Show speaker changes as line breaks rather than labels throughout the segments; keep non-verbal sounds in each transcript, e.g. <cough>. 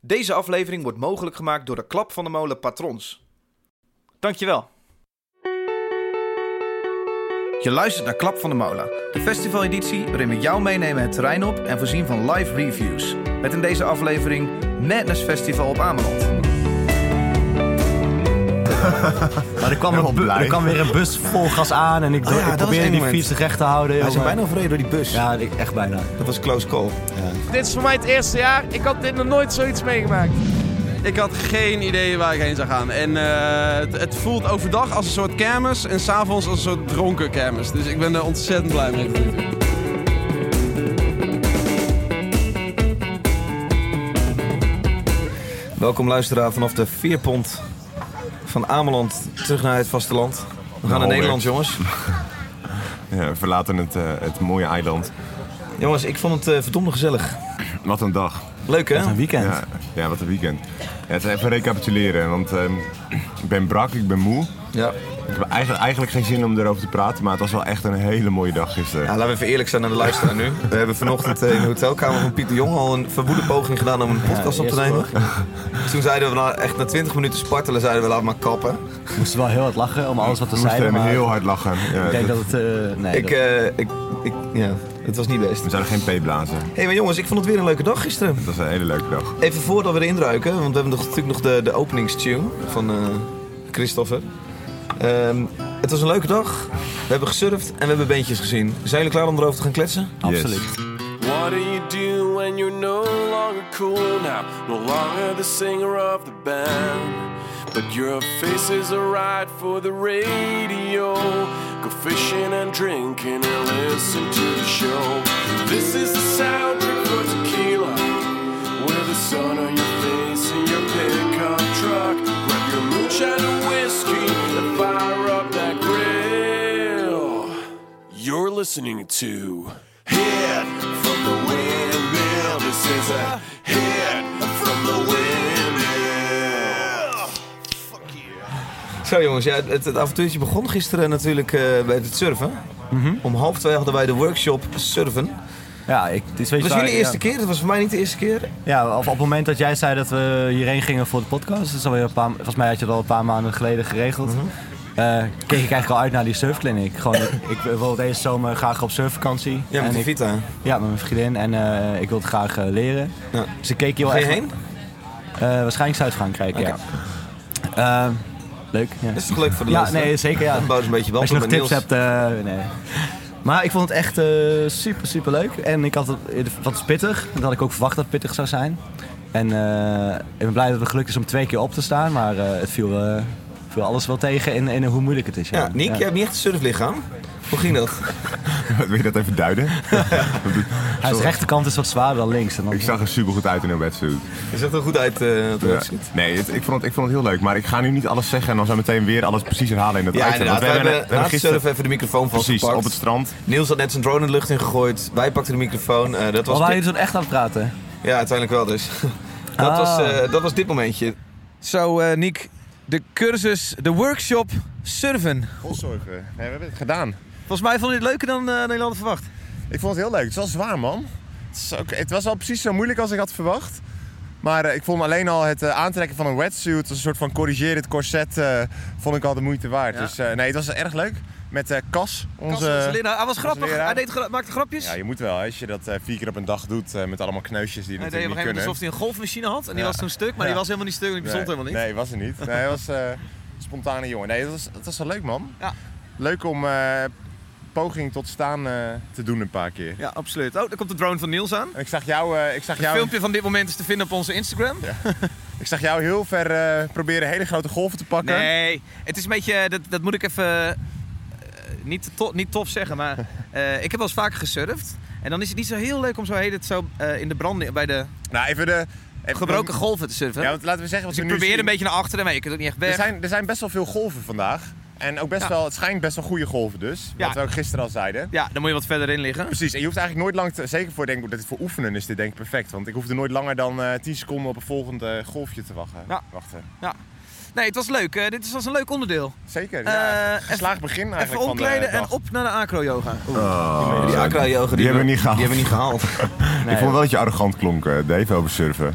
Deze aflevering wordt mogelijk gemaakt door de Klap van de Molen Patrons. Dankjewel. Je luistert naar Klap van de Molen, de festivaleditie waarin we jou meenemen het terrein op en voorzien van live reviews. Met in deze aflevering Madness Festival op Ameland.
Maar er kwam, een bu- er kwam weer een bus vol gas aan en ik, do-
Oh ja,
ik
dat was
probeerde
één
die
moment.
fiets recht te houden.
Hij is
jongen.
bijna overreden door die bus.
Ja, ik- echt bijna.
Dat was close call.
Dit is voor mij het eerste jaar. Ik had dit nog nooit zoiets meegemaakt.
Ik had geen idee waar ik heen zou gaan. En eh, het, het voelt overdag als een soort kermis en s'avonds als een soort dronken kermis. Dus ik ben er ontzettend blij mee. tot nu toe.
Welkom luisteraar vanaf de veerpont van Ameland terug naar het vasteland. We gaan naar
Alweer.
Nederland, jongens.
Ja, we verlaten het, eh, het mooie eiland.
Jongens, ik vond het eh, verdomde gezellig.
Wat een dag.
Leuk, hè?
Een weekend.
Ja, ja wat een weekend. Ja, het is even recapituleren, want ehm, ik ben brak, ik ben moe.
Ja.
Ik heb eigenlijk, eigenlijk geen zin om erover te praten, maar het was wel echt een hele mooie dag gisteren.
Ja, laten we even eerlijk zijn naar de luisteraar nu. We hebben vanochtend eh, in de hotelkamer van Piet de Jong al een verwoede poging gedaan om een podcast op te
eerste
nemen. Toen zeiden we na, echt na 20 minuten spartelen, zeiden we laat maar kappen.
We moesten wel heel hard lachen om alles wat we
we moesten
zeiden. Maar
heel hard lachen. Ja,
ik denk
dat-
dat het... eh, nee,
Ik,
dat-
eh, ik, ik, ja, het was niet best. Hé,
We zouden geen P-blazen.
hey, maar jongens, ik vond het weer een leuke dag gisteren.
Dat was een hele leuke dag.
Even voordat we erin ruiken, want we hebben nog- natuurlijk nog de, de openingstune van eh Christopher. Ehm, het was een leuke dag. We hebben gesurfd en we hebben beentjes gezien. Zijn jullie klaar om erover te gaan kletsen?
absoluut.
What do you do when you're no longer cool now? No longer the singer of the band. But your face is alright for the radio. Go fishing and drinking and listen to the show. This is the soundtrack for tequila. With the sun on your face and your pickup truck. Grab your moonshine and whiskey and fire up that grill. You're listening to Hit from the Windmill. This is a hit from the Windmill.
Zo jongens, ja, het, het avontuurtje begon gisteren natuurlijk eh, bij het surfen. Om half twee hadden wij de workshop surfen.
eh,
Ja, ik, het is,
Het
weet je
was
waar-
jullie eerste
ja.
keer, het was voor mij niet de eerste keer.
Ja, of op het moment dat jij zei dat we hierheen gingen voor de podcast, dat is alweer een paar, volgens mij had je dat al een paar maanden geleden geregeld.
Mhm.
eh, keek ik eigenlijk al uit naar die surfclinic. Gewoon, ik, ik wil deze zomer graag op surfvakantie.
Ja, met
en
de
ik-
Vita.
Ja, met mijn vriendin. En eh, ik wil het graag eh, leren.
Ja.
Dus ik keek heel
Ga je
erg...
heen?
Eh, waarschijnlijk Zuid-Frankrijk, ja. Ehm, leuk, ja.
Dat is toch leuk voor de
Ja,
luisteraar?
nee, zeker, ja.
Dat bouwt een beetje wel
Als je nog
met
tips
Niels.
hebt, eh, nee. Maar ik vond het echt eh, super, super leuk. En ik had het wat pittig. Dat had ik ook verwacht dat het pittig zou zijn. En eh, ik ben blij dat het gelukt is om twee keer op te staan. Maar eh, het viel, eh, viel alles wel tegen in, in hoe moeilijk het is.
Ja, Niek, jij hebt niet echt een surflichaam. Hoe ging dat?
<laughs> Wil je dat even duiden?
Hij is rechterkant is wat zwaarder dan links. En dan,
Ik zag er super goed uit in een wetsuit.
Je zag er goed uit eh op de
Ja.
website.
Nee, het- ik, vond het, ik vond het heel leuk. Maar ik ga nu niet alles zeggen en dan zo meteen weer alles precies herhalen in dat
Ja,
item. Want
inderdaad. We hebben, we hebben
gisteren-
surfen even de microfoon
Precies,
vastgepakt.
op het strand.
Niels had net zijn drone in de lucht ingegooid. Wij pakten de microfoon. Eh, dat was
Waar waren
dit-
jullie toen echt aan het praten?
Ja, uiteindelijk wel dus. <laughs> dat,
Ah.
was, eh, dat was dit momentje. Zo, eh Niek. De cursus, de workshop surfen.
Volzorgen. Nee, we hebben het gedaan.
Volgens mij vond je het leuker dan, eh, dan je had verwacht.
Ik vond het heel leuk. Het was zwaar, man. Het, is ook- het was wel precies zo moeilijk als ik had verwacht. Maar eh, ik vond alleen al het eh, aantrekken van een wetsuit, als een soort van corrigerend corset, eh, vond ik al de moeite waard. Dus eh, nee, het was erg leuk. Met eh, Cas, onze...
hij was grappig.
leraar.
Hij deed, gra- maakte grapjes.
Ja, je moet wel. hè, Als je dat eh, vier keer op een dag doet eh, met allemaal kneusjes die
hij deed op een
natuurlijk niet
gegeven moment
kunnen.
alsof hij een golfmachine had. En die
Ja.
was toen stuk, maar die
Ja.
was helemaal niet stuk. en Die bestond helemaal niet.
Nee, was er niet. Nee, hij was eh, een spontane jongen. Nee, dat was, dat was wel leuk, man.
Ja.
Leuk om eh, poging tot staan eh, te doen een paar keer.
Ja, absoluut. Oh, daar komt de drone van Niels aan.
En ik zag jou, eh, ik zag
Het
jou
filmpje van dit moment is te vinden op onze Instagram.
Ik zag jou heel ver eh, proberen hele grote golven te pakken.
Nee, het is een beetje, dat, dat moet ik even eh, niet, to- niet tof zeggen, maar
<laughs>
eh, ik heb wel eens vaker gesurfd. En dan is het niet zo heel leuk om zo heet het zo eh, in de brand bij de
Nou, even de... Even
gebroken golven te surfen.
Ja, want laten we zeggen... Wat
dus ik
we nu
probeerde een
zien.
beetje naar achteren, maar je kunt ook niet echt weg.
Er zijn, er zijn best wel veel golven vandaag. En ook best
Ja.
wel... Het schijnt best wel goede golven dus.
Ja.
Wat we ook gisteren al zeiden.
Ja, dan moet je wat verder in liggen.
Precies. En je hoeft eigenlijk nooit lang... Te, zeker voor, denk ik, dat het voor oefenen is dit denk ik perfect. Want ik hoefde nooit langer dan eh 10 seconden op een volgend eh, golfje te wachten.
Ja.
wachten.
Nee, het was leuk. Eh, dit was een leuk onderdeel.
Zeker. Ja,
Eh,
geslaagd begin eigenlijk
Even
van de
omkleden en
dag.
op naar de acro-yoga.
Oh, die acra-yoga die,
die hebben we niet gehaald.
Die hebben we niet
<laughs>
gehaald.
ik vond wel dat je arrogant klonk, eh, Dave, over surfen.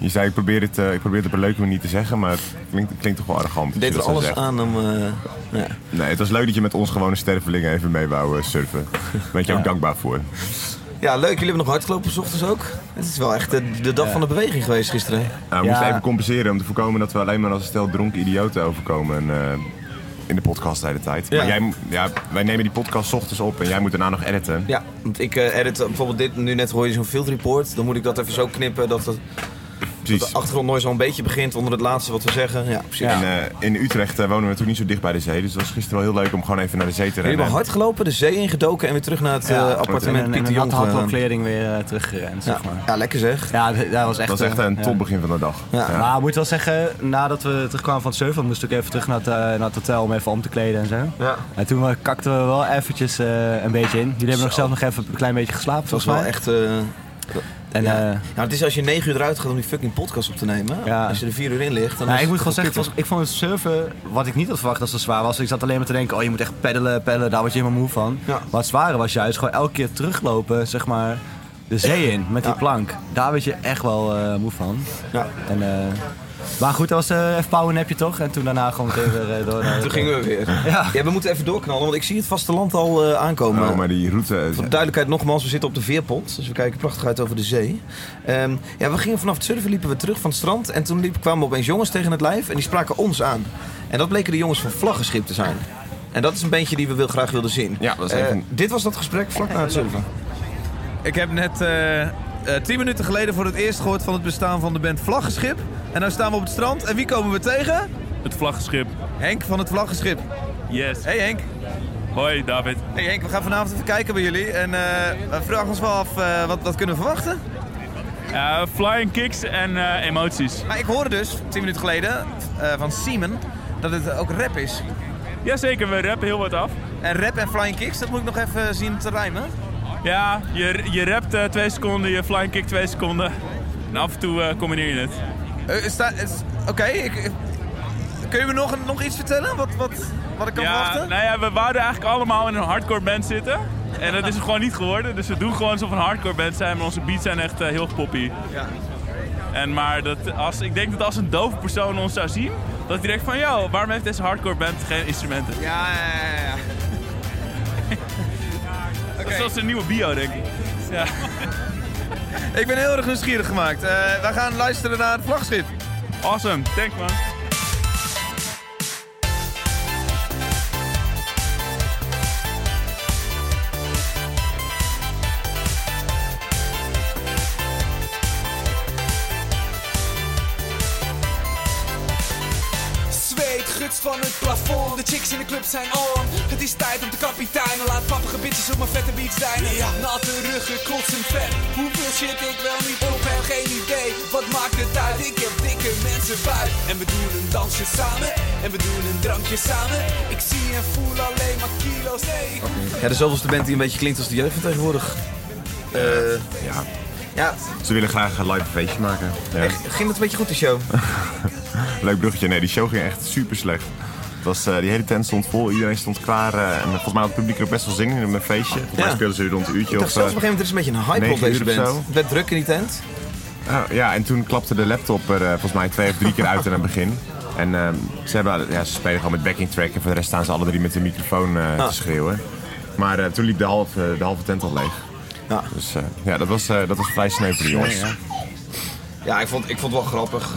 je zei, ik probeer, het, eh, ik probeer het op een leuke manier te zeggen, maar het klinkt, het klinkt toch wel
Ik
arrogant. als
deed
je
er
dat zo
alles
zegt.
aan om... eh, ja.
Nee, het was leuk dat je met ons gewone stervelingen even mee wou eh, surfen. Daar ben ik je ook dankbaar voor. Eh,
ja, leuk. Jullie hebben nog hardgelopen s ochtends ook. Het is wel echt de, de dag van de beweging geweest gisteren.
Nou, we moesten
Ja.
even compenseren om te voorkomen dat we alleen maar als een stel dronken idioten overkomen eh, in de podcast de hele tijd. Maar
Ja.
jij, mo- ja, wij nemen die podcast 's ochtends op en jij moet daarna nog editen.
Ja, want ik eh, edit eh, bijvoorbeeld dit. Nu net hoor je zo'n field report. Dan moet ik dat even zo knippen dat het- de
Precies.
achtergrond nooit zo'n beetje begint onder het laatste wat we zeggen. Ja, precies.
En eh, in Utrecht eh, wonen we natuurlijk niet zo dicht bij de zee, dus het was gisteren wel heel leuk om gewoon even naar de zee te
Jullie
rennen.
hebben hard gelopen, de zee ingedoken en weer terug naar het eh,
En,
appartement
en,
Piet de Jong.
had
gegaan.
wel kleding weer eh, teruggerend,
ja.
zeg maar.
ja, lekker zeg.
Ja, dat dat was echt...
Dat was echt
eh,
een
ja.
topbegin van de dag.
Ja.
Ja. Maar ik moet wel zeggen, nadat we terugkwamen van het surfen, moest ik even terug naar het, eh, naar het hotel om even om te kleden en zo.
Ja.
En toen eh, kakten we wel eventjes eh, een beetje in. Jullie hebben nog
Zo.
zelf nog even een klein beetje geslapen,
Het was
volgens
wel
mij.
echt... eh,
En,
ja. Nou,
eh,
het is als je negen uur eruit gaat om die fucking podcast op te nemen.
Ja.
Als je er vier uur in ligt, dan
Nou,
is
ik
het
moet gewoon zeggen,
toch
het was, ik vond het surfen, wat ik niet had verwacht dat het zo zwaar was. Ik zat alleen maar te denken, oh je moet echt peddelen, peddelen, daar word je helemaal moe van.
Ja.
Maar het zware was juist gewoon elke keer teruglopen, zeg maar, de zee in met die plank. Daar werd je echt wel eh, moe van.
Ja.
En, eh, maar goed, dat was eh even powernapje toch? En toen daarna gewoon meteen weer eh, door naar...
Toen gingen we weer.
Ja.
Ja, we moeten even doorknallen, want ik zie het vasteland al eh, aankomen.
Oh, maar die route...
Voor de duidelijkheid nogmaals, we zitten op de veerpont. Dus we kijken prachtig uit over de zee. Ehm, ja, we gingen vanaf het surfen, liepen we terug van het strand. En toen liep, kwamen opeens jongens tegen het lijf en die spraken ons aan. En dat bleken de jongens van Vlaggenschip te zijn. En dat is een beetje die we wil, graag wilden zien.
Ja, dat is
Eh,
even-
Dit was dat gesprek vlak na het surfen.
Ik heb net eh, eh, 10 minuten geleden voor het eerst gehoord van het bestaan van de band Vlaggenschip. En nou staan we op het strand en wie komen we tegen?
Het vlaggenschip.
Henk van het Vlaggenschip.
Yes.
Hey Henk.
Hoi David.
Hey Henk, we gaan vanavond even kijken bij jullie. En eh, we vragen ons wel af, eh, wat, wat kunnen we verwachten?
Eh, flying kicks en eh, emoties.
Maar ik hoorde dus, 10 minuten geleden, eh, van Simon, dat het ook rap is.
Jazeker, we rappen heel wat af.
En rap en flying kicks, dat moet ik nog even zien te rijmen.
Ja, je, je rapt eh, twee seconden, je flying kick twee seconden. En af en toe eh, combineer je het.
Eh, is daar- is- Oké, ik- ik- kun je me nog, nog iets vertellen? Wat, wat, wat ik kan
Ja,
verwachten?
nou ja, we wouden eigenlijk allemaal in een hardcore band zitten. En dat is het gewoon niet geworden. Dus we doen gewoon alsof we een hardcore band zijn. Maar onze beats zijn echt eh, heel poppy.
Ja.
En maar dat als, ik denk dat als een dove persoon ons zou zien, dat hij denkt van... Yo, waarom heeft deze hardcore band geen instrumenten?
Ja, ja, ja, ja.
<laughs> Dat is als een nieuwe bio, denk ik. Ja.
Ik ben heel erg nieuwsgierig gemaakt. Eh, wij gaan luisteren naar het vlaggenschip.
Awesome, thanks man.
Zweet gutst van het plafond, de chicks in de club zijn on Het is tijd om te kapiteinen, laat pappige bitches op mijn vette beats deinen ja. Natte ruggen, klotsend vet, hoeveel shit ik wel niet op heb Geen idee, wat maakt het uit, ik heb dikke mensen buik En we doen een dansje samen, en we doen een drankje samen Ik zie en voel alleen maar kilo's, nee ik
Ja, dezelfde band die een beetje klinkt als de jeugd van tegenwoordig. Eh,
Ja.
ja,
Ze willen graag een live feestje maken. Ja.
ging het een beetje goed, de show?
Leuk bruggetje. Nee, die show ging echt super slecht. Het was, eh, die hele tent stond vol, iedereen stond klaar. eh, en volgens mij had het publiek er ook best wel zin in in een feestje. Volgens mij
Ja.
speelden ze rond een uurtje
Ik dacht
of
zelfs
eh,
op een gegeven moment, er is een beetje een hype op
negen
deze
uur of
band.
zo.
Het werd druk in die tent.
Ah, ja, en toen klapte de laptop er eh, volgens mij twee of drie keer uit aan het begin. En ehm, ze, hebben, ja, ze spelen gewoon met backing track en voor de rest staan ze alle drie met de microfoon eh,
Ah.
te schreeuwen. Maar eh, toen liep de halve, de halve tent al leeg.
Ja.
Dus eh, ja, dat was, eh, dat was vrij sneu voor de jongens.
Ja, ik vond, ik vond het wel grappig.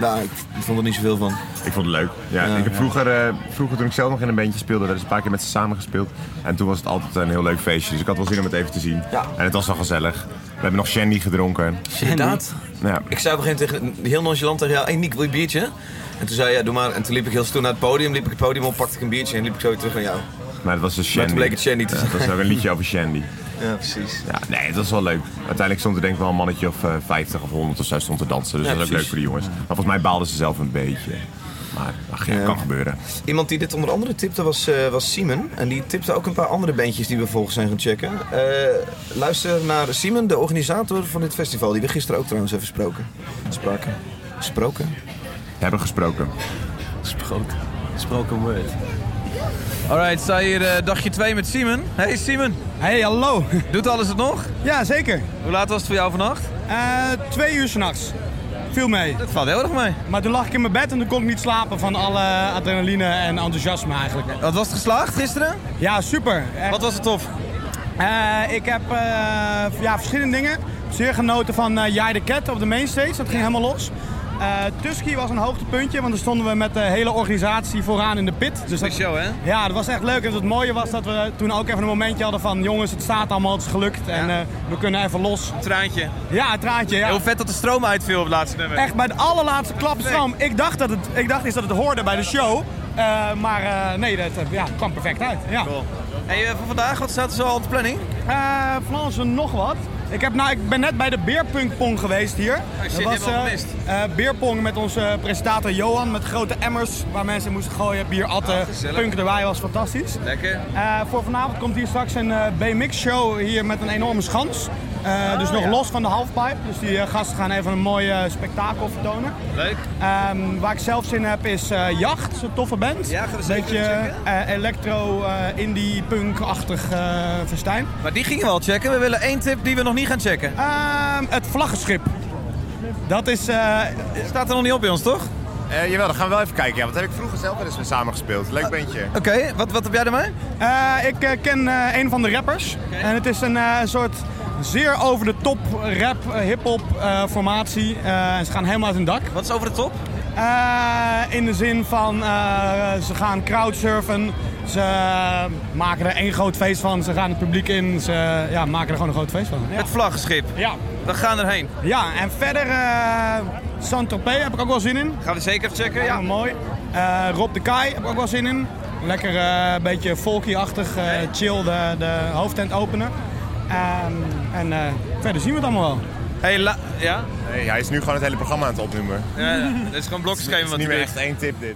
Nou, ik vond er niet zoveel van.
Ik vond het leuk. Ja, ik heb vroeger, eh, vroeger, toen ik zelf nog in een bandje speelde, daar is een paar keer met ze samen gespeeld. En toen was het altijd een heel leuk feestje. Dus ik had wel zin om het even te zien.
Ja.
En het was wel gezellig. We hebben nog Shandy gedronken.
Inderdaad.
Nou ja,
Ik zei op een gegeven moment tegen, heel nonchalant tegen jou, hey Nick, wil je een biertje? En toen zei je, ja, doe maar. En toen liep ik heel stoer naar het podium, liep ik het podium op, pakte ik een biertje en liep ik zo weer terug naar jou.
maar het was dus Shandy.
Maar toen bleek het Shandy te
Ja,
zijn.
Het was ook een liedje over Shandy.
<laughs> Ja, precies.
Ja, nee, het was wel leuk. Uiteindelijk stond er denk ik wel een mannetje of eh, 50 of 100 of zo stond te dansen. Dus
Ja,
dat was ook
precies.
leuk voor die jongens. Maar volgens mij baalden ze zelf een beetje. Maar ach, ja, kan gebeuren.
Iemand die dit onder andere tipte was, eh, was Simon. En die tipte ook een paar andere bandjes die we volgens zijn gaan checken. Eh, luister naar Simon, de organisator van dit festival. Die we gisteren ook trouwens even gesproken. Spraken. Gesproken?
Hebben gesproken.
Gesproken, gesproken word.
Alright, sta hier eh, dagje 2 met Simon. Hey Simon. Hey, hallo. Doet alles het nog? Ja, zeker. Hoe laat was het voor jou vannacht?
Eh,
twee uur s'nachts.
Viel mee. Dat
valt heel erg mee.
Maar toen lag ik in mijn bed en toen kon ik niet slapen van alle adrenaline en enthousiasme eigenlijk.
Wat was het geslaagd gisteren?
Ja, super. Wat
was het tof?
ik heb eh, ja, verschillende dingen. Zeer genoten van eh Jij de Cat op de mainstage. Dat ging helemaal los. Eh Tusky was een hoogtepuntje, want dan stonden we met de hele organisatie vooraan in de pit. Dus dat,
show, hè?
Ja, dat was echt leuk. En het mooie was dat we toen ook even een momentje hadden van... jongens, het staat allemaal, het is gelukt en eh, we kunnen even los.
Traantje.
Ja, een traantje, ja.
Heel vet dat de stroom uitviel op het laatste nummer.
Echt bij de allerlaatste klap stroom. Ik dacht, dat het, ik dacht eens dat het hoorde bij de show. Eh, maar eh, nee, dat eh, ja, kwam perfect uit. Ja.
Hey, eh, voor vandaag, wat staat er zo al op de planning?
Eh, van alles en nog wat. Ik, heb, nou, ik ben net bij de beerpunkpong geweest hier.
Oh, shit,
Dat
die
was
hebben we al gemist.
eh, eh, beerpong met onze presentator Johan met grote emmers waar mensen moesten gooien, bier atten.
Ah, gezellig.
punk erbij was fantastisch.
Lekker.
Eh, voor vanavond komt hier straks een eh, B-Mix show hier met een enorme schans. Eh,
Oh,
dus nog los van de halfpipe. Dus die eh, gasten gaan even een mooi eh, spektakel vertonen.
Leuk.
Ehm, waar ik zelf zin in heb is eh, Jacht, zo'n toffe band. Ja,
we zeker
Beetje eh, electro, eh, indie, punk-achtig eh, festijn.
Maar Nou, die gingen we al checken. We willen één tip die we nog niet gaan checken.
Ah.
Ehm, het vlaggenschip. Dat is... eh,
Staat er nog niet op bij ons, toch?
Eh, jawel, dan gaan we wel even kijken. Ja, want daar heb ik vroeger zelf wel eens mee samengespeeld. Leuk bandje.
Ah, Oké, wat, wat heb jij ermee?
ik eh, ken eh, een van de rappers. En het is een eh, soort zeer over de top rap, eh, hip-hop eh, formatie. Eh, en ze gaan helemaal uit hun dak.
Wat is over de top?
in de zin van eh, ze gaan crowdsurfen. Ze maken er één groot feest van. Ze gaan het publiek in. Ze ja, maken er gewoon een groot feest van. Ja.
Het vlaggenschip.
Ja.
We gaan erheen.
Ja, en verder eh Saint-Tropez heb ik ook wel zin in.
Gaan we zeker checken, ja.
Ja, mooi. Eh, Rob de Kai heb ik ook wel zin in. Lekker eh, een beetje folky-achtig, eh, chill de, de hoofdtent openen. Ehm, en eh, verder zien we het allemaal wel.
Hey, la- ja?
Nee, hij is nu gewoon het hele programma aan het opnoemen.
Ja, ja. <laughs> Dit is gewoon blokschema
Het is
wat
niet
hij
meer
doet.
echt één tip dit.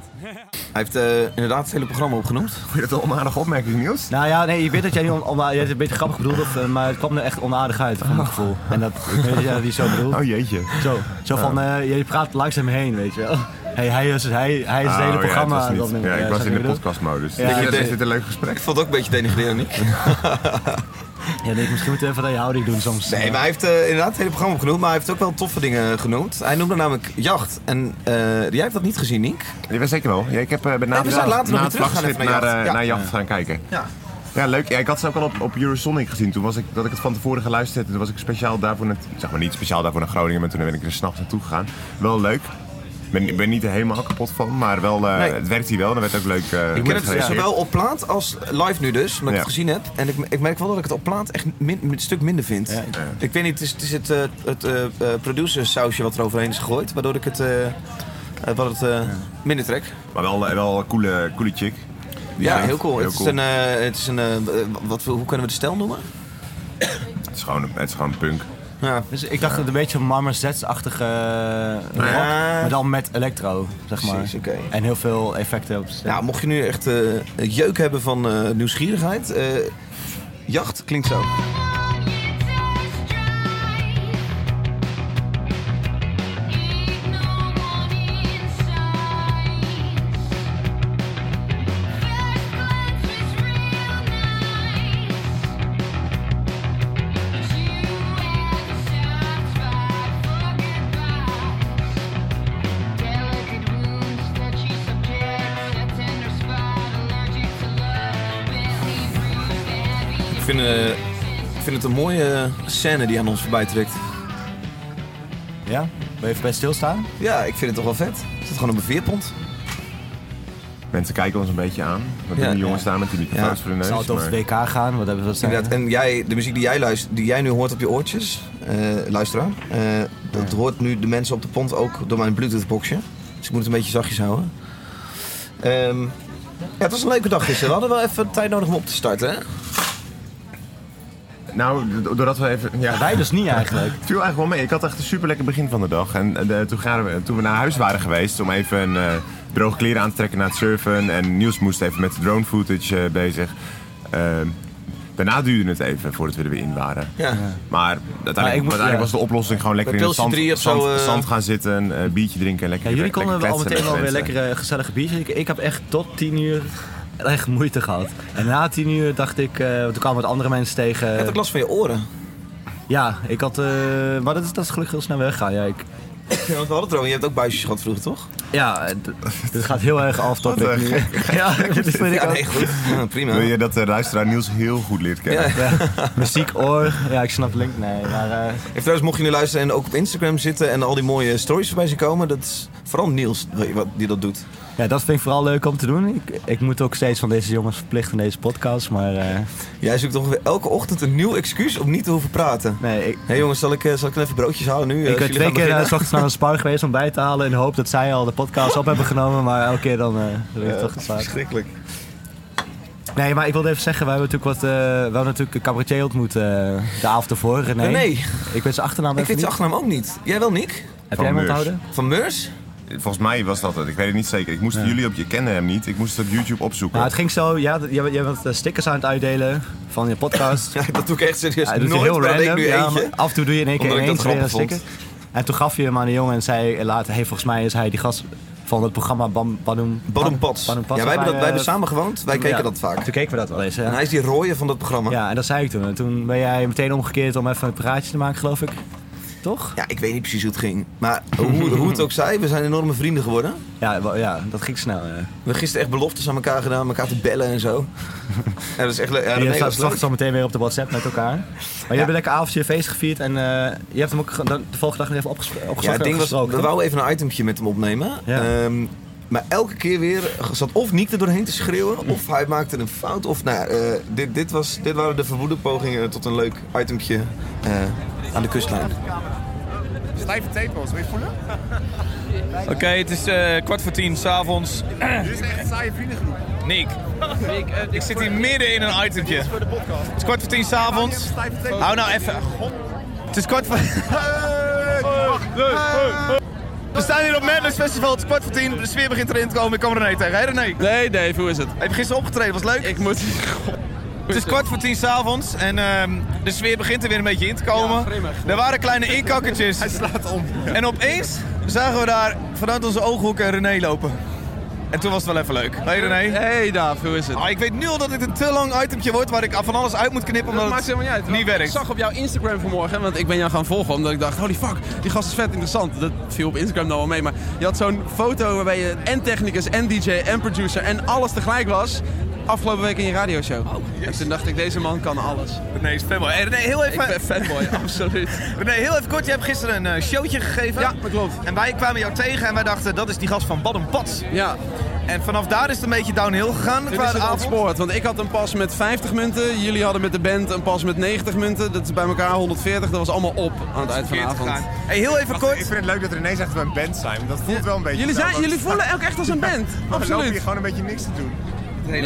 Hij heeft eh, inderdaad het hele programma opgenoemd. Vond
je dat een onaardige opmerking, Niels?
Nou ja, nee, je weet dat jij niet on, on, je hebt het een beetje grappig bedoeld, of, eh, maar het kwam er echt onaardig uit, van mijn gevoel. En dat, ik weet dat jij dat niet zo bedoelt.
Oh jeetje.
Zo, zo van, eh, je praat langzaam heen, weet je wel. Hey, hij is, hij, hij is het hele
Oh, ja,
programma
was
aan het
niet-
opnemen.
Ja, ik
Ja,
was
snap
in
je
de
wat ik bedoel?
podcastmodus.
Ja.
Ja,
Ik, eh,
is dit een leuk gesprek?
Ik vond het ook een beetje denigrerend, Nick.
Ja, nee, misschien moeten we even aan je houding doen
<laughs>
soms.
Nee, maar hij heeft eh, inderdaad het hele programma opgenoemd, maar hij heeft ook wel toffe dingen genoemd. Hij noemde namelijk Jacht. En eh, jij hebt dat niet gezien, Nick?
Ja, zeker wel. Ja, ik heb eh, bij na,
Nee, we zijn
na-
later nog weer
na het
terug gaan
vlaggenschip
even naar
naar,
Jacht. Ja.
eh, naar Jacht gaan kijken.
Ja.
Ja, leuk. Ja, ik had ze ook al op, op Eurosonic gezien. Toen was ik, dat ik het van tevoren geluisterd. en Toen was ik speciaal daarvoor, naar, zeg maar niet speciaal daarvoor naar Groningen, maar toen ben ik er s'nachts naartoe gegaan. Wel leuk. Ik ben, ik ben niet er helemaal kapot van, maar wel, eh,
Nee.
het werkt hier wel. Dan werd ook leuk eh
Ik heb het
gereageerd.
zowel op plaat als live nu dus, omdat ik
Ja.
het gezien heb. En ik, ik merk wel dat ik het op plaat echt min- een stuk minder vind.
Ja.
Ik weet niet, het is, het, is het, eh, het eh, eh, producer-sausje wat er overheen is gegooid, waardoor ik het, eh, eh, wat het eh, minder trek.
Maar wel, eh, wel een coole, coole chick. Die
ja,
zingt.
heel cool. het,
cool.
Is een, eh, het is een, eh, wat, hoe kunnen we de stijl noemen?
het, is gewoon, het is gewoon punk.
Ja.
Dus ik dacht dat het een beetje Marmer Zets-achtige eh, rock, maar dan met electro, zeg maar.
Precies, oké.
En heel veel effecten op stem.
Nou, mocht je nu echt eh, jeuk hebben van eh, nieuwsgierigheid, eh, jacht klinkt zo. Ik vind, eh, ik vind het een mooie scène die aan ons voorbij trekt.
Ja? Wil je even bij stilstaan?
Ja, ik vind het toch wel vet. Het zit gewoon op een veerpont.
Mensen kijken ons een beetje aan. Wat
Ja.
doen die jongens staan met die microfoons voor de neus?
Zou het over
maar-
het WK gaan? Wat hebben we dat zijn?
Inderdaad. En jij, de muziek die jij, luistert, die jij nu hoort op je oortjes, eh luisteraar, eh, dat hoort nu de mensen op de pont ook door mijn Bluetooth-boxje. Dus ik moet het een beetje zachtjes houden. Ehm, ja, het was een leuke dag gisteren. We hadden wel even tijd nodig om op te starten, hè?
Nou, do- doordat we even... Ja.
Wij dus niet eigenlijk.
Het <laughs> viel eigenlijk wel mee. Ik had echt een super lekker begin van de dag. En eh, de- toen, garen we, toen we naar huis waren geweest om even eh droge kleren aan te trekken na het surfen. En Niels moest even met de drone footage eh, bezig. Eh, Daarna duurde het even voordat we er weer in waren.
Ja.
Maar uiteindelijk,
Maar ik moet-
uiteindelijk
ja.
was de oplossing gewoon lekker
Bij
in het
Pilsen
zand,
drie of zo,
zand-
eh,
zand gaan zitten, een eh, biertje drinken en lekker
Ja, jullie
lekker
konden al
kletsen
meteen
met
al weer
mensen.
lekkere eh, gezellige biertjes. Ik, ik heb echt tot tien uur echt moeite gehad. En na tien uur dacht ik, eh, toen kwamen wat andere mensen tegen. Je had
ook last van je oren.
Ja, ik had, eh, maar dat is, dat is gelukkig heel snel weggegaan. Ja, ik,
Ja, want we hadden het erover. Je hebt ook buisjes gehad vroeger, toch?
ja eh, d- dit gaat heel erg af topic nu.
<laughs>
Ja, <laughs> dat vind ik
Ja,
ook.
nee,
<laughs>
goed. Ja, prima.
Wil je dat de luisteraar Niels heel goed leert kennen?
Ja. Muziek, oor. Ja, ik snap link. Nee, maar... eh,
En trouwens, mocht je nu luisteren en ook op Instagram zitten en al die mooie stories voorbij zien komen, dat is vooral Niels eh, wat- die dat doet.
Ja, dat vind ik vooral leuk om te doen. Ik, ik moet ook steeds van deze jongens verplichten in deze podcast, maar... eh,
Jij zoekt ongeveer elke ochtend een nieuw excuus om niet te hoeven praten.
Nee, ik...
hey jongens, zal ik, eh, zal ik even broodjes halen nu?
ik ben twee keer eh, s ochtends naar een spar geweest om bij te halen in de hoop dat zij al de podcast op hebben genomen, maar elke keer dan eh ben ik toch geslaagd.
Verschrikkelijk.
Nee, maar ik wilde even zeggen, wij hebben natuurlijk, wat, eh, we hebben natuurlijk een cabaretier ontmoet eh, de avond ervoor. René.
René.
Ik weet zijn achternaam
Ik
even
weet zijn
niet.
achternaam ook niet. Jij wel, Nick?
Heb jij hem
Meurs.
onthouden?
Van Meurs? <laughs>
Volgens mij was dat het. Ik weet het niet zeker. Ik moest jullie op, je kennen hem niet. Ik moest het op YouTube opzoeken.
Nou, het ging zo, ja, dat- jij, jij bent eh, stickers aan het uitdelen van je podcast.
<laughs> Ja, dat doe ik echt serieus
Hij doet
nooit,
heel
maar dat deed ik
random.
nu
ja,
eentje.
maar af en toe doe je in één keer
Omdat ik dat
ineens weer een
grappig
sticker.
vond.
En toen gaf je hem aan een jongen en zei later, hey, volgens mij is hij die gast van het programma Bam, Badum,
Badum Pats.
Badum
Ja, wij hebben, dat, wij hebben
eh,
samen gewoond. Wij keken
ja,
dat vaak.
Toen keken we dat wel eens, ja.
En hij is die rooie van dat programma.
Ja, en dat zei ik toen. En toen ben jij meteen omgekeerd om even een praatje te maken, geloof ik. Toch?
Ja, ik weet niet precies hoe het ging. Maar hoe, hoe het
<laughs>
ook zij, we zijn enorme vrienden geworden.
Ja, wa- ja dat ging snel. Ja.
We hebben gisteren echt beloftes aan elkaar gedaan, elkaar te bellen en
<laughs>
zo. Ja, dat is echt leuk. Ja,
En je
René
staat
was
straks
leuk.
zo meteen weer op de WhatsApp met elkaar. Maar je hebt een lekker avondje feest gevierd en eh, je hebt hem ook ge- dan- de volgende dag nog even opges- opgeslagen.
Ja, het ding was,
opgesproken,
we
toch?
wouden even een itempje met hem opnemen.
Ja.
Ehm, maar elke keer weer zat of Niek er doorheen te schreeuwen, of hij maakte een fout. Of, nou, ja, eh, dit, dit, was, dit waren de verwoede pogingen tot een leuk itempje eh, aan de kustlijn.
Stijve tepels, wil je voelen?
Oké, het is eh, kwart voor tien s'avonds.
Dit is echt een saaie vriendengroep. eh,
Nick. ik zit hier midden in een itempje. Het is kwart voor tien s'avonds. Hou nou even. Het is kwart voor. We staan hier op Madness Festival, het is kwart voor tien. De sfeer begint erin te komen. Ik kom René tegen. Hé René.
Nee, Dave, hoe is het?
Heb je gisteren opgetreden? Was het leuk? Ik moet... Het is kwart voor tien s'avonds en ehm, de sfeer begint er weer een beetje in te komen. er waren kleine inkakkertjes. Hij slaat om. En opeens zagen we daar vanuit onze ooghoeken René lopen. En toen was het wel even leuk. Hey René.
Hey Dave, hoe is het?
Ah, ik weet nu al dat dit een te lang itempje wordt waar ik van alles uit moet knippen omdat
Dat maakt
het
helemaal niet uit.
niet
Want
werkt.
Ik zag op jouw Instagram vanmorgen, hè, want ik ben jou gaan volgen, omdat ik dacht, holy fuck, die gast is vet interessant. Dat viel op Instagram dan wel mee, maar je had zo'n foto waarbij je en technicus, en DJ, en producer, en alles tegelijk was, afgelopen week in je radioshow.
Oh,
En toen dacht ik, deze man kan alles.
René is fanboy. Hey, René, heel even...
Ik ben
<laughs>
fanboy, absoluut.
René, heel even kort. Je hebt gisteren een eh, showtje gegeven. Ja, dat klopt. En wij kwamen jou tegen en wij dachten, dat is die gast van Badum Pats.
Ja.
En vanaf daar is het een beetje downhill gegaan.
Dit
qua
is
de
het
avond.
ontspoord, want ik had een pas met 50 munten, jullie hadden met de band een pas met 90 munten, dat is bij elkaar 140, dat was allemaal op aan het eind van de avond.
Hey, heel even kort.
Ik vind het leuk dat René zegt dat we een band zijn. Dat voelt wel een beetje
Jullie,
zo,
zijn,
want-
jullie voelen ook echt als een band,
Ja, <laughs> We lopen hier
absoluut.
gewoon een beetje niks te doen.
Nee,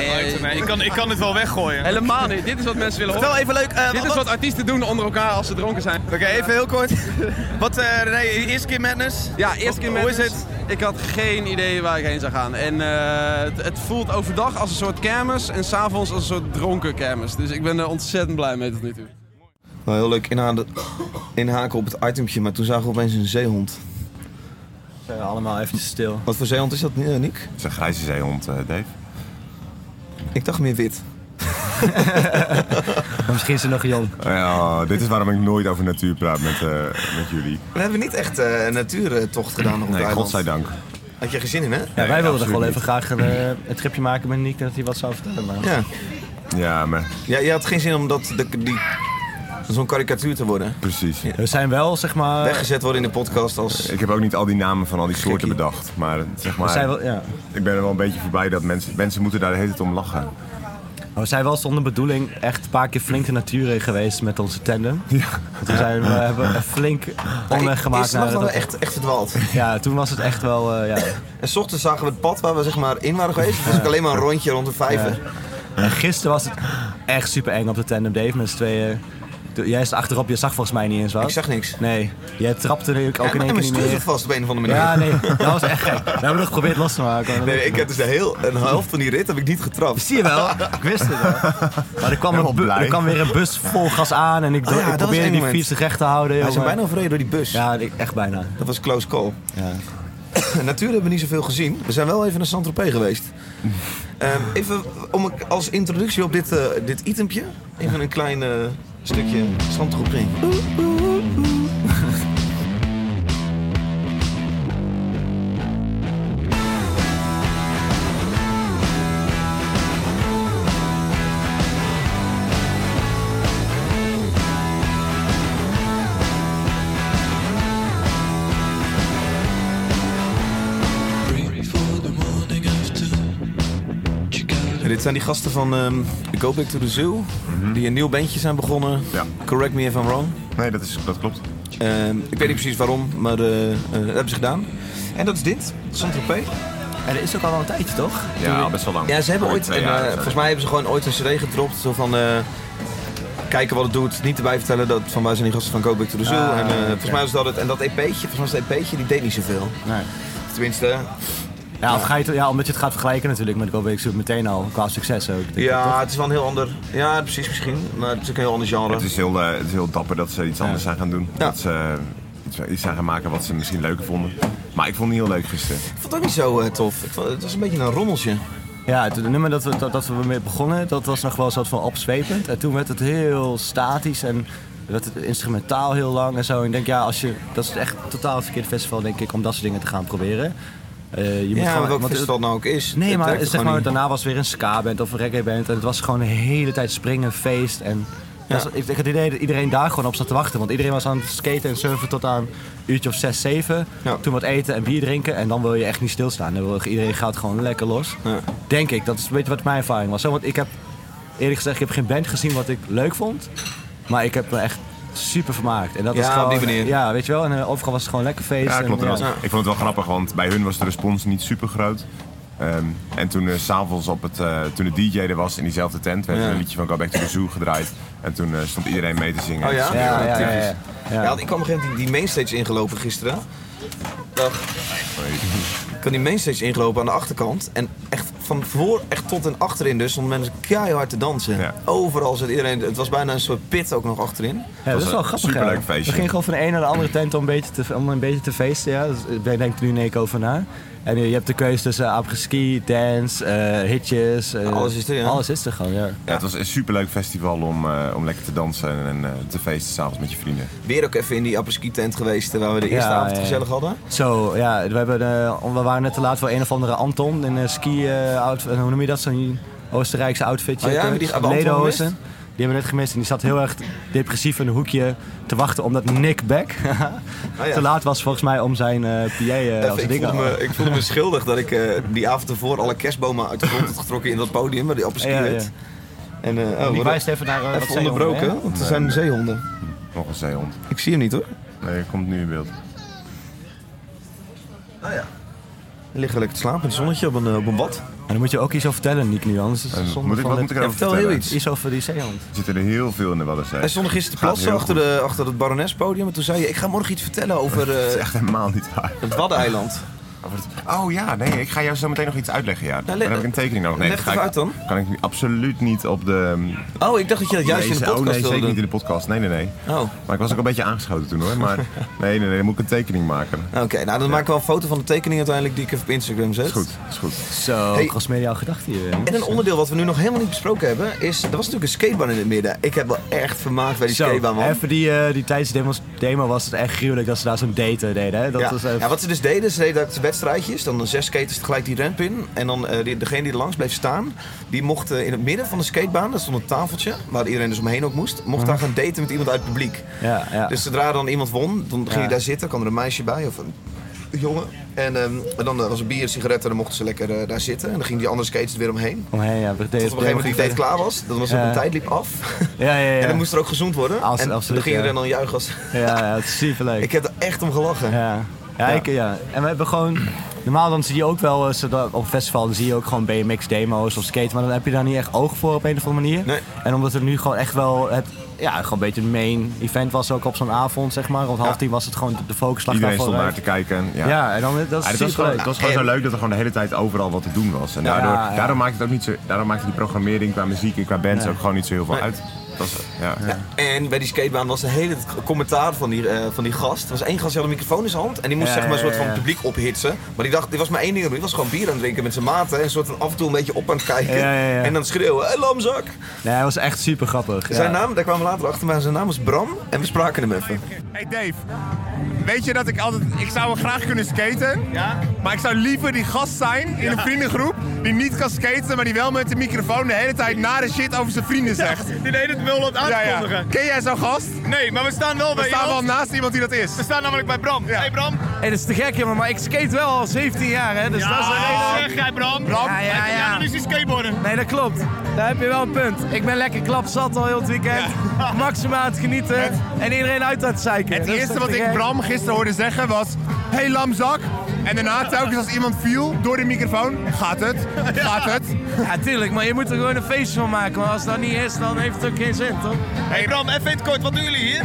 ik kan, ik kan het wel weggooien.
Helemaal niet. Dit is wat mensen willen horen.
Vertel even leuk, eh,
Dit is
wat-
wat artiesten doen onder elkaar als ze dronken zijn.
Oké, even heel kort. <laughs> Wat, eh René, eerste keer Madness?
Ja, eerst keer
Hoe-
met
Hoe is het?
Ik had geen idee waar ik heen zou gaan. En eh, het, het voelt overdag als een soort kermis en s'avonds als een soort dronken kermis. Dus ik ben er ontzettend blij mee tot nu toe.
Nou, heel leuk inha- inhaken op het itempje, maar toen zagen we opeens een zeehond.
Zijn we allemaal eventjes stil.
Wat voor zeehond is dat, eh, Nick?
Het is een grijze zeehond, eh, Dave.
Ik dacht meer wit.
Maar misschien is er nog een jong.
Ja, dit is waarom ik nooit over natuur praat met, eh, met jullie.
We hebben niet echt eh, een natuurtocht gedaan op het
Nee,
eiland.
godzijdank.
Had je geen zin in, hè?
Ja, wij wilden
absoluut
toch wel even
niet.
graag een, eh, een tripje maken met Nick dat hij wat zou vertellen. Maar...
Ja.
Ja, maar
ja je had geen zin om dat, de- die, zo'n karikatuur te worden.
precies.
We zijn wel, zeg maar...
Weggezet worden in de podcast als...
Ik heb ook niet al die namen van al die soorten bedacht. Maar eh, zeg
We
maar,
zijn wel, ja.
ik ben er wel een beetje voorbij dat mensen, mensen moeten daar de hele tijd om lachen.
Maar we zijn wel zonder bedoeling echt een paar keer flink de natuur in geweest met onze tandem. Want we, zijn, we hebben een flink
Ik-
omweg
Ik
gemaakt
snap
naar
dat we
dat.
echt, echt verdwaald.
Ja, toen was het echt wel. eh,
<laughs>
ja.
En s ochtends zagen we het pad waar we zeg maar in waren geweest. Het was ook alleen maar een rondje rond de vijver.
En gisteren was het echt super eng op de tandem, Dave, met z'n tweeën. de- jij staat achterop, je zag volgens mij niet eens wat. Ik zag
niks.
Nee, jij trapte er ook in
maar
één keer
mijn
niet
stuur
meer.
zat vast op een of andere manier.
Ja, nee, dat was echt gek. We hebben nog geprobeerd los te maken. maar dat
Nee,
lukte
ik heb dus de heel, een helft van die rit heb ik niet getrapt.
Zie je wel, ik wist het wel. Maar er kwam, een bu- er kwam weer een bus vol gas aan en ik,
Oh ja,
ik
dat was
probeerde
één
die
moment.
fiets recht te houden.
Hij is
jongen.
bijna overreden door die bus.
Ja, die- echt bijna.
Dat was close call. <coughs> Natuurlijk hebben we niet zoveel gezien. We zijn wel even naar Saint-Tropez <laughs> geweest. Ehm, even om, een- als introductie op dit, eh, dit itempje. Even een klein eh, stukje Saint-Tropez. En dit zijn die gasten van ehm Go Back to the Zoo. Die een nieuw bandje zijn begonnen. Correct me if I'm wrong. Ehm,
Nee, dat, is, dat klopt.
ik weet niet precies waarom, maar eh, eh, dat hebben ze gedaan. En dat is dit, Saint-Tropez.
En dat is ook al wel een tijdje, toch?
Ja, al best wel lang.
Ja, ze hebben
Voor
ooit,
twee
een, eh,
jaar of zo.
volgens mij hebben ze gewoon ooit een cd gedropt. Zo van, eh, kijken wat het doet, niet erbij vertellen dat van wij zijn die gasten van Go Back to the Zoo.
Ah,
en, eh,
oké.
volgens mij was dat het, en dat EP'tje, volgens mij was dat EP'tje, die deed niet zoveel.
Nee.
Tenminste,
Ja, of ga je het- ja, omdat je het gaat vergelijken natuurlijk met Go Zoek meteen al, qua succes ook.
ja, het is wel een heel ander, ja precies misschien, maar het is ook een heel ander genre.
Het is heel, eh, het is heel dapper dat ze iets anders zijn gaan doen. Dat ze eh, iets, iets zijn gaan maken wat ze misschien leuker vonden. Maar ik vond het niet heel leuk gisteren.
Ik vond het ook niet zo eh, tof, Ik vond- het was een beetje een rommeltje.
Ja, het nummer dat we, dat, dat we mee begonnen, dat was nog wel een soort van opzwepend. En toen werd het heel statisch en werd het instrumentaal heel lang en zo. En ik denk, ja, als je, dat is echt totaal het verkeerd festival, denk ik, om dat soort dingen te gaan proberen. Eh, je
Ja, maar welk
want-
festival het nou ook is,
Nee,
het
maar,
werkt
zeg
gewoon
maar
niet.
daarna was weer een ska-band of een reggae-band. En het was gewoon de hele tijd springen, feest. En dat is- ik ik had het idee dat iedereen daar gewoon op zat te wachten. Want iedereen was aan het skaten en surfen tot aan een uurtje of zes, zeven. Toen wat eten en bier drinken. En dan wil je echt niet stilstaan. Dan wil, je- iedereen gaat gewoon lekker los. Denk ik. Dat is een beetje wat mijn ervaring was. Zo, Want ik heb eerlijk gezegd, ik heb geen band gezien wat ik leuk vond. Maar ik heb me echt super vermaakt. En dat
Ja,
was
op
gewoon,
die manier.
Ja, weet je wel. En eh, overal was het gewoon lekker feest.
Ja,
en,
eh,
klopt. En
ja.
dat- Ik vond het wel grappig, want bij hun was de respons niet super groot. Ehm, en toen eh, 's s'avonds op het, eh, toen de DJ er was in diezelfde tent, werd
Ja.
er een liedje van Go Back to the Zoo gedraaid. En toen eh, stond iedereen mee te zingen.
Oh ja?
Dat is wel heel typisch.
Ja, want ik kwam op een gegeven moment die, die mainstage ingelopen gisteren. Dag. Ik had die mainstage ingelopen aan de achterkant. En echt van voor echt tot en achterin dus stonden mensen keihard te dansen. Overal zat iedereen... Het was bijna een soort pit ook nog achterin.
Ja, dat is wel grappig. ja. We gingen gewoon van de een naar de andere tent om een beetje te, om een beetje te feesten. Ja. Dus, eh, daar denkt er nu in één keer over na. En eh, je hebt de keuze tussen apres-ski, dance, eh, hitjes. eh,
Alles is er, ja.
Alles is er gewoon, ja.
Ja, het was een superleuk festival om, eh, om lekker te dansen en eh, te feesten s'avonds met je vrienden.
Weer ook even in die apres-ski tent geweest eh, waar we de eerste
Ja,
avond
ja. Ah,
gezellig hadden.
Zo, ja. We, hebben, eh, we waren net te laat voor een of andere Anton in een ski eh, outfit. Hoe noem je dat? Zo'n Oostenrijkse outfitje.
Oh ja,
Eh,
maar die hebben Anton
lederhosen.
gemist?
Die hebben we net gemist. En die zat heel erg depressief in een hoekje te wachten omdat Nick Beck
Oh <laughs> ja.
te laat was volgens mij om zijn eh PA eh, als
Even, ik,
ding
voelde me, ik voelde me schuldig dat ik eh, die avond ervoor alle kerstbomen uit de grond had getrokken in dat podium waar die apres-ski
Ja, ja.
werd. En, eh,
Die
wat-
wijst even naar, eh, wat
even
zeehonden,
onderbroken,
hè?
want er zijn zeehonden.
Nog een zeehond.
Ik zie hem niet hoor.
Nee, hij komt nu in beeld.
Hij ligt lekker te slapen in het zonnetje op een, eh, op een bad.
En dan moet je ook iets over vertellen, Nick, nu anders. is het
Eh,
zonde
moet ik-
van
wat
dit-
moet ik erover
Ja, vertel heel
vertellen?
iets. Iets over die zeehond.
Er zitten er heel veel in de Waddenzee.
Hij stond gisteren te
Gaat
plassen
heel
achter,
goed.
de, achter het baronesspodium. En toen zei je, ik ga morgen iets vertellen over...
<laughs>
eh,
Dat is echt helemaal niet waar.
Het Waddeneiland.
Oh ja, nee, ik ga jou zo meteen nog iets uitleggen. Ja. Daar
leg-
heb ik een tekening nodig. Nee,
leg het
dat ga
even
ik- Kan ik nu absoluut niet op de...
Oh, ik dacht dat je dat juist
Nee,
in de
ze-
podcast
Oh
wilde
nee, zeker
doen.
niet in de podcast. Nee, nee, nee.
Oh.
Maar ik was ook een beetje aangeschoten toen hoor.
<laughs>
Maar nee, nee, nee, dan moet ik een tekening maken.
Oké, nou dan maak ik wel een foto van de tekening uiteindelijk die ik even op Instagram zet. Is goed,
is goed.
Zo,
Hey.
crossmediaal gedachte hier. jongens.
En een onderdeel wat we nu nog helemaal niet besproken hebben is... Er was natuurlijk een skatebaan in het midden. Ik heb wel echt vermaakt bij die
Zo,
skatebaan, man.
even die, eh, die tijdens de demo's- demo was het echt gruwelijk dat ze daar zo'n date eh, deden. Hè? Dat
ja.
was, eh,
ja, wat ze dus deden, ze deden dat wedstrijdjes. Dan zes skaters tegelijk die ramp in. En dan eh, die, degene die er langs bleef staan, die mocht eh, in het midden van de skatebaan, daar stond een tafeltje, waar iedereen dus omheen ook moest, mocht daar gaan daten met iemand uit het publiek.
ja, Mhm. ja.
Dus zodra dan iemand won, dan ging
Ja.
hij daar zitten, kwam er een meisje bij of een jongen. En ehm, en dan eh, was er bier en sigaretten, dan mochten ze lekker eh, daar zitten. En dan gingen die andere skaters er weer omheen.
Omheen, ja. we
Tot
deden-
op een gegeven moment die date klaar was, dan was het
Ja.
een tijd liep af. <laughs>
Ja, ja, ja.
En dan moest er ook gezoend worden.
Als-
en
absoluut,
dan ging
ja.
er dan juichen als... <laughs>
Ja, ja, het is superleuk.
Ik heb er echt om gelachen.
Ja, ja, Ik, ja. En we hebben gewoon... Normaal dan zie je ook wel, eh, zodra- op een festival dan zie je ook gewoon BMX-demo's of skate. Maar dan heb je daar niet echt oog voor op een of andere manier. En omdat er nu gewoon echt wel het ja, gewoon een beetje het main event was ook op zo'n avond, zeg maar. Rond half tien was het gewoon de focus lag
Iedereen
daarvoor
stond daar
uit.
te kijken. en Ja,
Ja, en dan- dat
het
is
was
superleuk.
gewoon, het was gewoon
En-
zo leuk dat er gewoon de hele tijd overal wat te doen was. En
Ja,
daardoor,
ja.
daarom maakte het ook niet zo, daarom maakte die programmering qua muziek en qua bands
Nee.
ook gewoon niet zo heel veel
Nee.
uit. Dat was, ja.
En bij die skatebaan was de hele t- commentaar van die, eh, van die gast. Er was één gast die had een microfoon in zijn hand. En die moest
Ja,
zeg maar een
ja,
soort van
ja.
publiek ophitsen. Maar die dacht, dit was maar één ding. aan het doen. Die was gewoon bier aan het drinken met zijn maten. En soort van af en toe een beetje op aan het kijken.
Ja, ja, ja.
En dan schreeuwen, hé lamzak!
Nee, het was echt super grappig.
Zijn naam, daar kwamen we later achter, maar zijn naam was Bram. En we spraken hem even.
Hey Dave, weet je dat ik altijd... Ik zou wel graag kunnen skaten. Maar ik zou liever die gast zijn in een vriendengroep... die niet kan skaten, maar die wel met de microfoon... de hele tijd nare shit over zijn vrienden zegt.
Die deed het wel aan het aankondigen.
Ken jij zo'n gast?
Nee, maar we staan wel
We
bij
staan wel
iemand.
naast iemand die dat is.
We staan namelijk bij Bram. Hey Bram.
Hey, dat is te gek, jongen, maar ik skate wel al 17 jaar, hè? Dus
Ja,
dat is een
zeg jij, Bram.
Bram?
Hij kan jou nog niet zien skateboarden.
Nee, dat klopt. Daar heb je wel een punt. Ik ben lekker klapzat al heel het weekend. Maximaal aan het genieten en iedereen uit aan het zeiken.
Het
Dat is
eerste
toch
wat
te
ik
gek?
Bram gisteren hoorde zeggen was... Hey lamzak. En daarna telkens als iemand viel door de microfoon... Gaat het? Gaat het?
Ja, tuurlijk, maar je moet er gewoon een feestje van maken. Maar als dat niet is, dan heeft het ook geen zin, toch?
Hey Bram, even in het kort, wat doen jullie hier?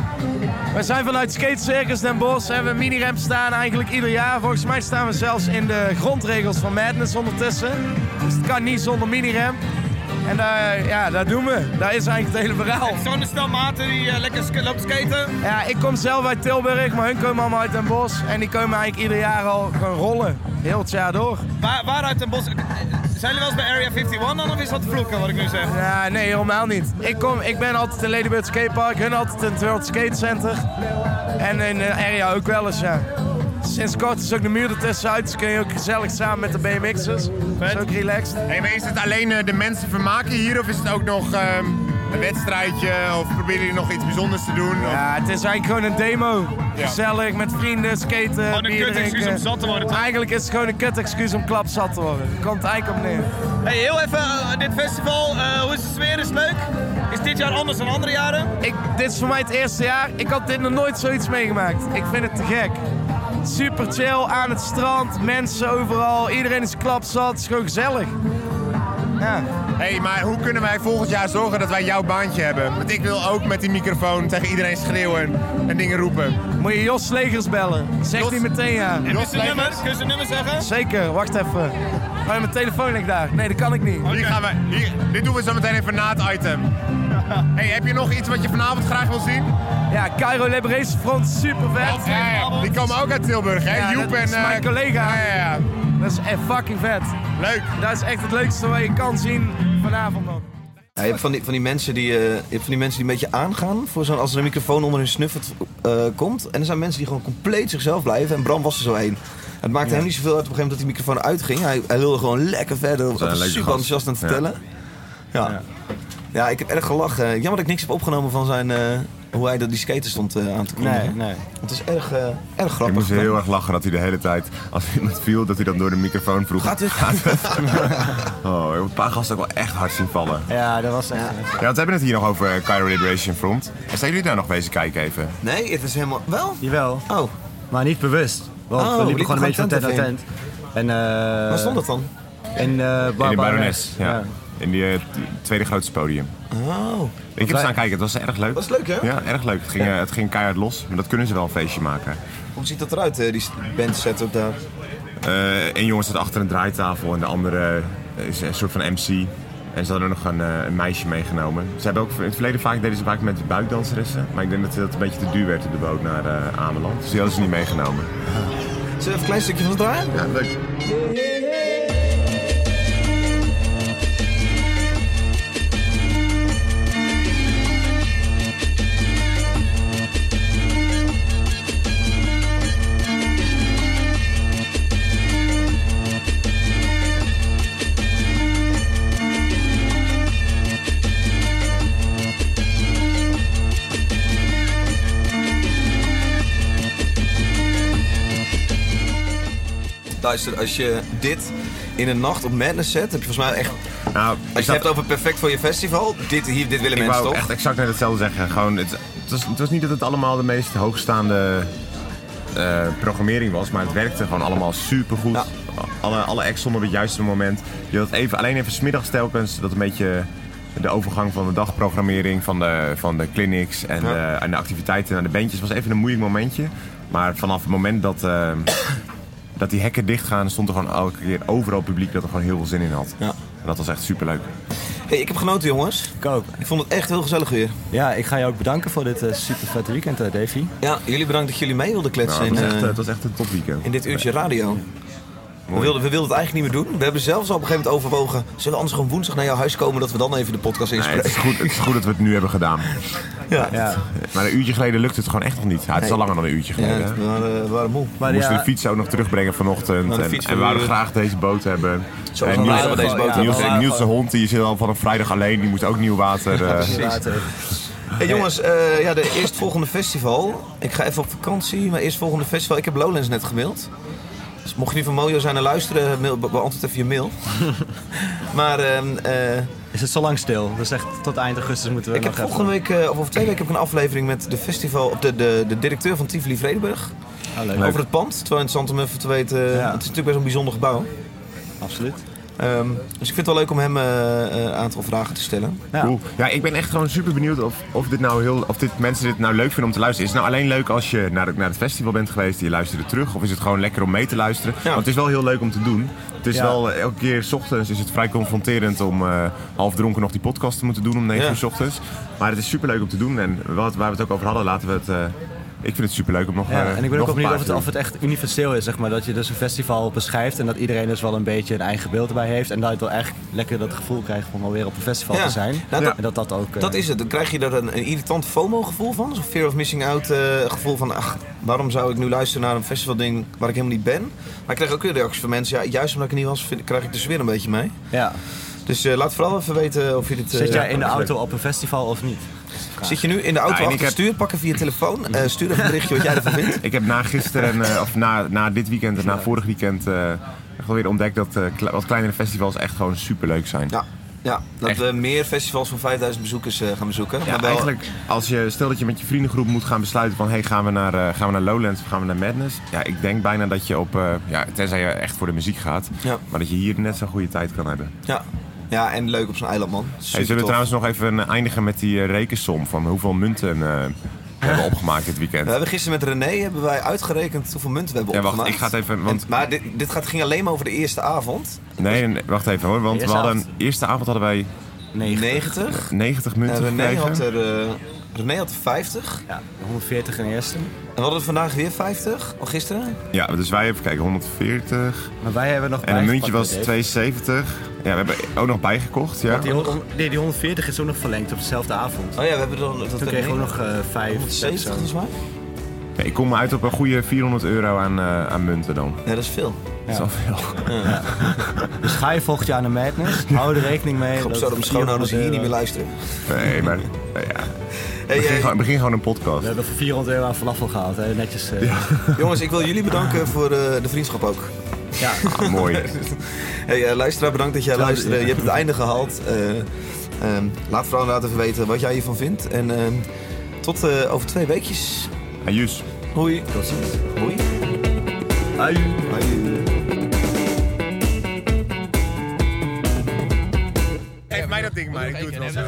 We zijn vanuit Skate Circus Den Bosch, hebben we een mini-ramp staan eigenlijk ieder jaar. Volgens mij staan we zelfs in de grondregels van Madness ondertussen. Dus het kan niet zonder mini-ramp. En daar, ja, dat doen we. Daar is eigenlijk het hele
<laughs>
verhaal.
Zo'n stel maten die eh, lekker sk- loopt skaten.
Ja, ik kom zelf uit Tilburg, maar hun komen allemaal uit Den Bosch. En die komen eigenlijk ieder jaar al gewoon rollen. Heel het jaar door.
Waar, waaruit Den Bosch? Zijn jullie wel eens bij Area 51 dan of is dat vloeken wat ik nu zeg?
Ja, nee, helemaal niet. Ik, kom, ik ben altijd in Ladybird Skatepark, hun altijd in het World Skate Center. En in de area ook wel eens, ja. Sinds kort is ook de muur ertussenuit, dus kun je ook gezellig samen met de BMX'ers. Dat is ook relaxed.
Hey, maar is het alleen eh, de mensen vermaken hier of is het ook nog ehm, een wedstrijdje of proberen jullie nog iets bijzonders te doen? Of-
Ja, het is eigenlijk gewoon een demo. Gezellig, met vrienden, skaten,
Gewoon een
bier
kut-excuus
drinken.
om zat
te worden, toch?
Eigenlijk is het gewoon een kut-excuus om klapzat te worden. Daar Komt het eigenlijk op neer.
Hey, heel even, eh, dit festival, eh, hoe is de sfeer? Is het leuk? Is dit jaar anders dan andere jaren?
Ik, dit is voor mij het eerste jaar. Ik had dit nog nooit zoiets meegemaakt. Ik vind het te gek. Super chill, aan het strand, mensen overal, iedereen is klapzat, het is gewoon gezellig. Ja.
Hey, maar hoe kunnen wij volgend jaar zorgen dat wij jouw baantje hebben? Want ik wil ook met die microfoon tegen iedereen schreeuwen en dingen roepen.
Moet je Jos Slegers bellen? Zeg die meteen ja.
Jos Slegers?
Kun je zijn nummer zeggen?
Zeker, wacht even. Oh, mijn telefoon ligt daar. Nee, dat kan ik
Oh.
niet.
Hier gaan we, hier, dit doen we zo meteen even na het item. Hey, heb je nog iets wat je vanavond graag wil zien?
Ja, Cairo Liberation Front, super vet.
Ja, ja, die komen ook uit Tilburg, hè?
Ja,
Joep
dat
en...
is mijn
eh,
collega.
Ja, ja, ja.
Dat is echt fucking vet.
Leuk.
Dat is echt het leukste wat je kan zien vanavond nog.
Ja, je hebt van die, van die mensen die, eh, je hebt van die mensen die een beetje aangaan voor zo'n, als er een microfoon onder hun snuffert eh, komt. En er zijn mensen die gewoon compleet zichzelf blijven. En Bram was er zo heen. Het maakte hem niet zoveel uit op een gegeven moment dat die microfoon uitging. Hij, hij wilde gewoon lekker verder. Hij
een
was
leuke
super
gast.
enthousiast aan het
Ja.
vertellen. Ja. ja. ik heb erg gelachen. Jammer dat ik niks heb opgenomen van zijn, eh, hoe hij dat die skater stond eh, aan te kondigen.
Nee, nee.
Het is erg, eh, erg
Ik
grappig.
moest heel erg lachen dat hij de hele tijd, als iemand viel, dat hij dan door de microfoon vroeg. Gaat
het?
<laughs> oh, ik heb een paar gasten ook wel echt hard zien vallen.
Ja, dat was echt...
Ja, want we hebben het hier nog over eh, Cairo Liberation Front. En zijn jullie daar nog bezig kijken even?
Nee, het is helemaal... Wel?
Jawel.
Oh.
Maar niet bewust. Want
Oh,
we liepen
liepen
gewoon een beetje van
gewoon
tent
tent
naar tent. En, eh,
Waar stond dat dan?
In, eh
In
Bar
de
Barones.
Barones, ja. In die eh, t- tweede grootste podium.
Oh.
Ik heb staan kijken, het was erg leuk.
Was leuk, hè?
Ja, erg leuk. Het ging, eh, het ging keihard los, maar dat kunnen ze wel een feestje maken.
Hoe ziet dat eruit, eh, die band setup daar?
Eh Eén jongen staat achter een draaitafel en de andere eh, is een soort van MC. En ze hadden nog een, eh, een meisje meegenomen. Ze hebben ook in het verleden vaak deden ze vaak met buikdanseressen. Maar ik denk dat dat een beetje te duur werd op de boot naar eh, Ameland. Dus die hadden ze niet meegenomen.
Zullen we even een klein stukje van het draaien?
Ja, leuk.
Luister, als je dit in een nacht op Madness zet, heb je volgens mij echt... als
Nou,
je
ik
het
zat-
hebt over perfect voor je festival, dit, hier, dit willen
Ik
mensen toch?
wou echt exact net hetzelfde zeggen. Gewoon, het, het, was, het was niet dat het allemaal de meest hoogstaande eh, programmering was, maar het werkte gewoon allemaal supergoed. Alle, alle acts stonden op het juiste moment. Je had even, alleen even smiddags telkens dat een beetje de overgang van de dagprogrammering, van de, van de clinics en,
Ja.
de, en de activiteiten naar de bandjes was even een moeilijk momentje. Maar vanaf het moment dat, eh, dat die hekken dichtgaan, stond er gewoon elke keer overal publiek dat er gewoon heel veel zin in had. En dat was echt superleuk.
Hey, ik heb genoten, jongens.
Ik ook.
Ik vond het echt heel gezellig weer.
Ja, ik ga je ook bedanken voor dit eh, super vette weekend, eh, Davy.
Ja, jullie bedankt dat jullie mee wilden kletsen.
Nou, het, was
in,
echt,
eh,
eh, het was echt een topweekend.
in dit uurtje radio. We wilden, we wilden het eigenlijk niet meer doen. We hebben zelfs al op een gegeven moment overwogen... zullen we anders gewoon woensdag naar jouw huis komen... dat we dan even de podcast
Nee, het,
inspreken?
is goed, het is goed dat we het nu hebben gedaan.
Ja.
Maar een uurtje geleden lukte het gewoon echt nog niet. Ja, het is al
Nee.
langer dan een uurtje
Ja,
geleden. hè.
we waren, eh, we waren moe.
we
Maar
moesten
ja,
de fiets ook nog terugbrengen vanochtend.
Nou, de
en,
fiets
en we wouden
van de-
graag deze boot hebben.
Zo
En
van
Niels,
blij dat we deze boot
Niels-
hebben.
en Niels de hond die zit al van een vrijdag alleen. Die moest ook nieuw water. eh.
later.
Hey, jongens, eh, ja, de eerstvolgende festival. Ik ga even op vakantie, maar eerstvolgende festival. Ik heb Lowlands net gemaild. Dus mocht je nu van Mojo zijn en luisteren, mail, be- beantwoord even je
<laughs>
mail. maar ehm, eh,
Is het zo lang stil? Dus echt tot eind augustus moeten we
ik
nog
heb
even...
volgende week, eh, of over twee weken, heb ik een aflevering met de, festival, of de, de, de directeur van Tivoli Vredenburg.
Oh, leuk.
Over het pand. Terwijl interessant om even te weten, eh,
Ja.
het is natuurlijk best een bijzonder gebouw.
Absoluut.
Ehm, dus ik vind het wel leuk om hem eh, eh, een aantal vragen te stellen.
Ja.
Cool. Ja, ik ben echt gewoon super benieuwd of, of, dit nou heel, of dit, mensen dit nou leuk vinden om te luisteren. Is het nou alleen leuk als je naar, het- naar het festival bent geweest en je luisterde terug? Of is het gewoon lekker om mee te luisteren? Want het is wel heel leuk om te doen. Het is
Ja.
wel eh, elke keer 's ochtends is het vrij confronterend om eh, half dronken nog die podcast te moeten doen om 9
Ja.
uur 's ochtends. Maar het is super leuk om te doen. En wat, waar we het ook over hadden, laten we het. eh, ik vind het super leuk om nog.
Ja,
eh,
en ik ben
nog
ook wel
een
benieuwd of
paar
het,
te
of het echt universeel is, zeg maar. Dat je dus een festival beschrijft en dat iedereen dus wel een beetje een eigen beeld erbij heeft. En dat je wel echt lekker dat gevoel krijgt om alweer op een festival
Ja.
te zijn.
Nou, dat-
En dat dat ook... eh,
Dat is het. Dan krijg je daar een, een irritant FOMO-gevoel van. Zo'n fear of missing out eh, gevoel van... Ach, waarom zou ik nu luisteren naar een festivalding waar ik helemaal niet ben? Maar ik krijg ook weer reacties van mensen. Ja, juist omdat ik er niet was, vind- krijg ik dus weer een beetje mee.
Ja.
Dus eh, laat vooral even weten of je dit... eh,
Zit jij
ja,
in de
dat is
auto op een festival of niet?
leuk. Zit je nu in de auto
Ja,
achter
en ik
het
heb- Mhm.
stuur? Pak even je telefoon. eh, stuur even een berichtje wat jij ervan vindt.
<laughs> Ik heb na gisteren, eh, of na, na dit weekend en na vorig weekend, eh, echt wel weer ontdekt dat eh, kle- wat kleinere festivals echt gewoon superleuk zijn.
Ja, ja dat
Echt.
we meer festivals van 5000 bezoekers eh, gaan bezoeken.
Ja,
Maar wel-
eigenlijk, als je, stel dat je met je vriendengroep moet gaan besluiten van... hey, gaan, we naar, eh, gaan we naar Lowlands of gaan we naar Madness? Ja, ik denk bijna dat je op... eh, ja, tenzij je echt voor de muziek gaat.
Ja.
Maar dat je hier net zo'n goede tijd kan hebben.
Ja. ja, en leuk op zo'n eiland, man. Super
Hey, zullen we
tof.
trouwens nog even eh, eindigen met die eh, rekensom... van hoeveel munten eh, we hebben opgemaakt dit weekend?
We hebben gisteren met René hebben wij uitgerekend hoeveel munten we hebben
Ja, wacht,
opgemaakt.
ik ga het even- want-
En- maar dit, dit gaat, ging alleen maar over de eerste avond.
Nee, nee, wacht even hoor. Want we
Eerste
hadden,
avond.
eerste avond hadden wij
90.
90.
90
En
munten
René
gekregen.
had er eh, René had 50.
Ja, 140 in de eerste.
En we hadden er vandaag weer 50. Al gisteren.
Ja, dus wij hebben, kijk, 140.
Maar wij hebben nog
En een muntje
bijgepakt
was
met deze.
72. Ja, we hebben ook nog bijgekocht, ja.
Want Die, hon- nee, die 140 is ook nog verlengd op dezelfde avond.
Oh ja, we hebben dan... Dat
Toen kregen we ook nog eh 5, 6
70 volgens mij.
Ja, ik kom uit op een goede 400 euro aan, eh, aan munten dan.
Ja, dat is veel.
Dat is al veel.
Dus ga je volgend jaar naar Madness. Hou er rekening mee.
Ik hoop
dat
zo dat mijn schoonouders hier
400
eh,
niet meer
euro-
luisteren.
Nee, maar nou ja.
Hey,
Begin,
eh,
gewoon, begin gewoon een
We
podcast.
hebben voor 400 euro aan falafel gehaald. Hè. Netjes. eh,
jongens, ik wil jullie bedanken voor eh, de vriendschap ook.
ja.
Mooi.
Hey, eh, luisteraar, bedankt dat jij
Zo,
luisterde.
ja.
Je hebt het einde gehaald. Eh, ehm, laat vooral inderdaad even weten wat jij hiervan vindt. En ehm, tot eh, over twee weekjes.
Ajus.
Hoi. Tot ziens. Hoi. Hoi.
Geef mij dat ding maar, ik doe het wel.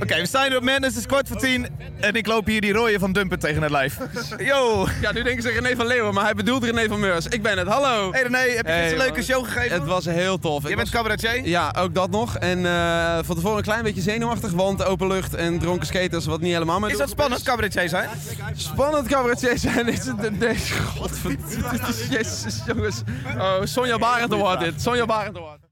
Oké, we staan hier op Madness, het is kwart voor tien. En ik loop hier die rooie van Dumpen tegen het lijf. Yo!
Ja, nu denken ze René van Leeuwen, maar hij bedoelt René van Meurs. Ik ben het, hallo.
Hey René, heb je
Hey,
gisteren een leuke
man.
show gegeven?
Het was heel tof. Ik
Jij bent
was-
cabaretier?
ja, ook dat nog. En eh, van tevoren een klein beetje zenuwachtig, want open lucht en dronken skaters, wat niet helemaal met
Is dat spannend, cabaretier zijn?
Spannend cabaretier zijn is het... <laughs> Nee, <laughs> godverdomme. Jezus, jongens. Oh, Sonja Barend Award dit. Sonja Barend Award.